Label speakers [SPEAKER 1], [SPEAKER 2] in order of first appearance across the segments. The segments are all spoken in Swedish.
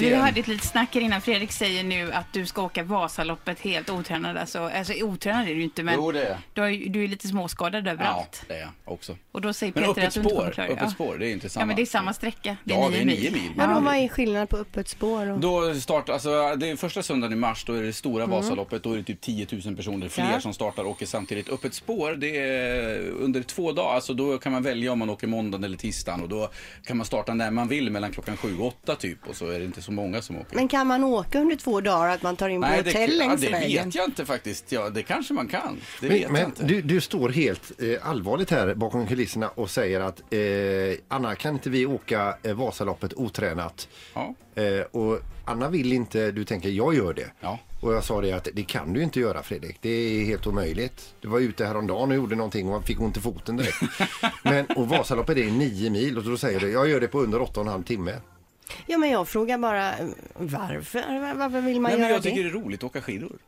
[SPEAKER 1] Vi
[SPEAKER 2] Verkligen.
[SPEAKER 1] hade ett litet snack här innan Fredrik säger nu att du ska åka Vasaloppet helt otränad. Alltså, alltså otränad är du ju inte men
[SPEAKER 2] Jo, det är
[SPEAKER 1] du, har ju- du är lite småskadad
[SPEAKER 2] Ja,
[SPEAKER 1] överallt.
[SPEAKER 2] det är jag också.
[SPEAKER 1] Och då säger
[SPEAKER 2] Men
[SPEAKER 1] Peter
[SPEAKER 2] öppet
[SPEAKER 1] att du inte kommer
[SPEAKER 2] spår,
[SPEAKER 1] klara
[SPEAKER 2] öppet
[SPEAKER 1] Ja.
[SPEAKER 2] spår, det är inte samma.
[SPEAKER 1] ja men det är samma sträcka. Det är
[SPEAKER 2] Ja,
[SPEAKER 1] nio
[SPEAKER 2] det är nio
[SPEAKER 1] mil.
[SPEAKER 2] mil.
[SPEAKER 3] Vadå, vad är skillnaden på öppet spår och...
[SPEAKER 2] Då startar, alltså det är första söndagen i mars, då är det stora Vasaloppet, då är det typ 10 000 personer fler
[SPEAKER 3] Mm. Ja.
[SPEAKER 2] som startar och åker samtidigt. Öppet spår, det är under två dagar, alltså då kan man välja om man åker måndagen eller tisdagen och då kan man starta när man vill mellan klockan 7 och 8 typ och så är det inte så många som åker.
[SPEAKER 3] Men kan man åka under två dagar att man tar in på
[SPEAKER 2] Nej, det,
[SPEAKER 3] hotell
[SPEAKER 2] ja,
[SPEAKER 3] längs
[SPEAKER 2] det
[SPEAKER 3] vägen?
[SPEAKER 2] vet jag inte faktiskt. Ja, det kanske man kan. Det vet
[SPEAKER 4] Men,
[SPEAKER 2] jag
[SPEAKER 4] men
[SPEAKER 2] inte.
[SPEAKER 4] du, du står helt eh, allvarligt här bakom kulisserna och säger att eh, Anna, kan inte vi åka eh, Vasaloppet otränat?
[SPEAKER 2] Ja.
[SPEAKER 4] Eh, och Anna vill inte, du tänker jag gör det.
[SPEAKER 2] Ja.
[SPEAKER 4] Och jag sa det att det kan du inte göra Fredrik, det är helt omöjligt. Du var ute häromdagen och gjorde någonting och fick ont i foten direkt. Men, och Vasaloppet är nio mil och då säger du, jag gör det på under åtta och en halv timme.
[SPEAKER 3] Ja, men jag frågar bara eh, varför? Var- Varför vill man
[SPEAKER 2] Nej, men
[SPEAKER 3] göra
[SPEAKER 2] jag
[SPEAKER 3] det?
[SPEAKER 2] tycker det är roligt att åka skidor.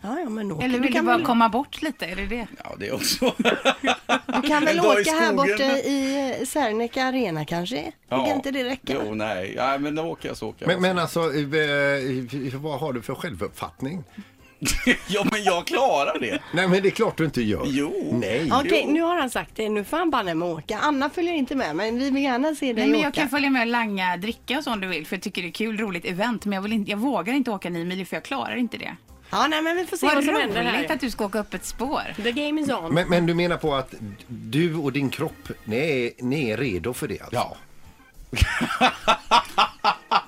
[SPEAKER 3] Ja, ja, men åker.
[SPEAKER 1] Eller
[SPEAKER 3] du
[SPEAKER 1] vill du
[SPEAKER 3] kan
[SPEAKER 1] bara
[SPEAKER 3] väl,
[SPEAKER 1] komma bort lite? Är det det?
[SPEAKER 2] Ja, det är också.
[SPEAKER 3] du kan väl
[SPEAKER 2] En dag i
[SPEAKER 3] åka här
[SPEAKER 2] skogen.
[SPEAKER 3] borta i eh, Serneke Arena kanske? Ja. Kan inte det räcka?
[SPEAKER 2] Jo, nej. nej, men då åker jag så åker jag.
[SPEAKER 4] Men, men alltså, eh, vad har du för självuppfattning?
[SPEAKER 2] ja, men jag klarar det.
[SPEAKER 4] Nej men det är klart du inte gör.
[SPEAKER 2] Jo.
[SPEAKER 4] Nej.
[SPEAKER 3] Okej,
[SPEAKER 2] Jo.
[SPEAKER 3] nu har han sagt det. Nu får han banne mig åka. Anna följer inte med, men vi vill gärna se dig
[SPEAKER 1] Nej, men jag
[SPEAKER 3] åka.
[SPEAKER 1] kan följa med och langa, dricka och så om du vill för jag tycker det är kul, roligt event men jag, vill inte, jag vågar inte åka nio mil för jag klarar inte det.
[SPEAKER 3] Ja, nej, men vi får se vad,
[SPEAKER 1] Vad
[SPEAKER 3] som händer
[SPEAKER 1] roligt
[SPEAKER 3] här.
[SPEAKER 1] att du ska åka öppet spår.
[SPEAKER 3] The game is on.
[SPEAKER 4] Men, men du menar på att du och din kropp, ni är, ni är redo för det alltså?
[SPEAKER 2] Ja.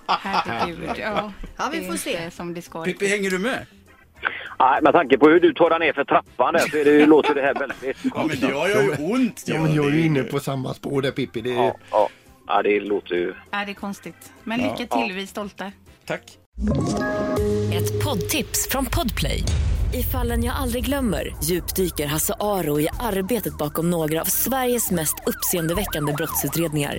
[SPEAKER 1] Herregud. Ja,
[SPEAKER 3] Ja, vi
[SPEAKER 1] det är
[SPEAKER 3] får se.
[SPEAKER 1] inte Som det ska.
[SPEAKER 2] Pippi, hänger du med?
[SPEAKER 5] Nej, med tanke på hur du torrar ner för trappan där så är det, ju- låter det här väldigt
[SPEAKER 2] Ja, men det
[SPEAKER 5] konstigt.
[SPEAKER 2] gör ju ont.
[SPEAKER 4] Ja,
[SPEAKER 2] gör
[SPEAKER 4] men jag är
[SPEAKER 2] det.
[SPEAKER 4] ju inne på samma spår där Pippi. Det är...
[SPEAKER 5] Ja, ja. ja, det låter ju...
[SPEAKER 1] Ja, det är konstigt. Men lycka till, vi är stolta.
[SPEAKER 2] Tack.
[SPEAKER 6] Ett poddtips från Podplay. I fallen jag aldrig glömmer djupdyker Hasse Aro i arbetet bakom några av Sveriges mest uppseendeväckande brottsutredningar.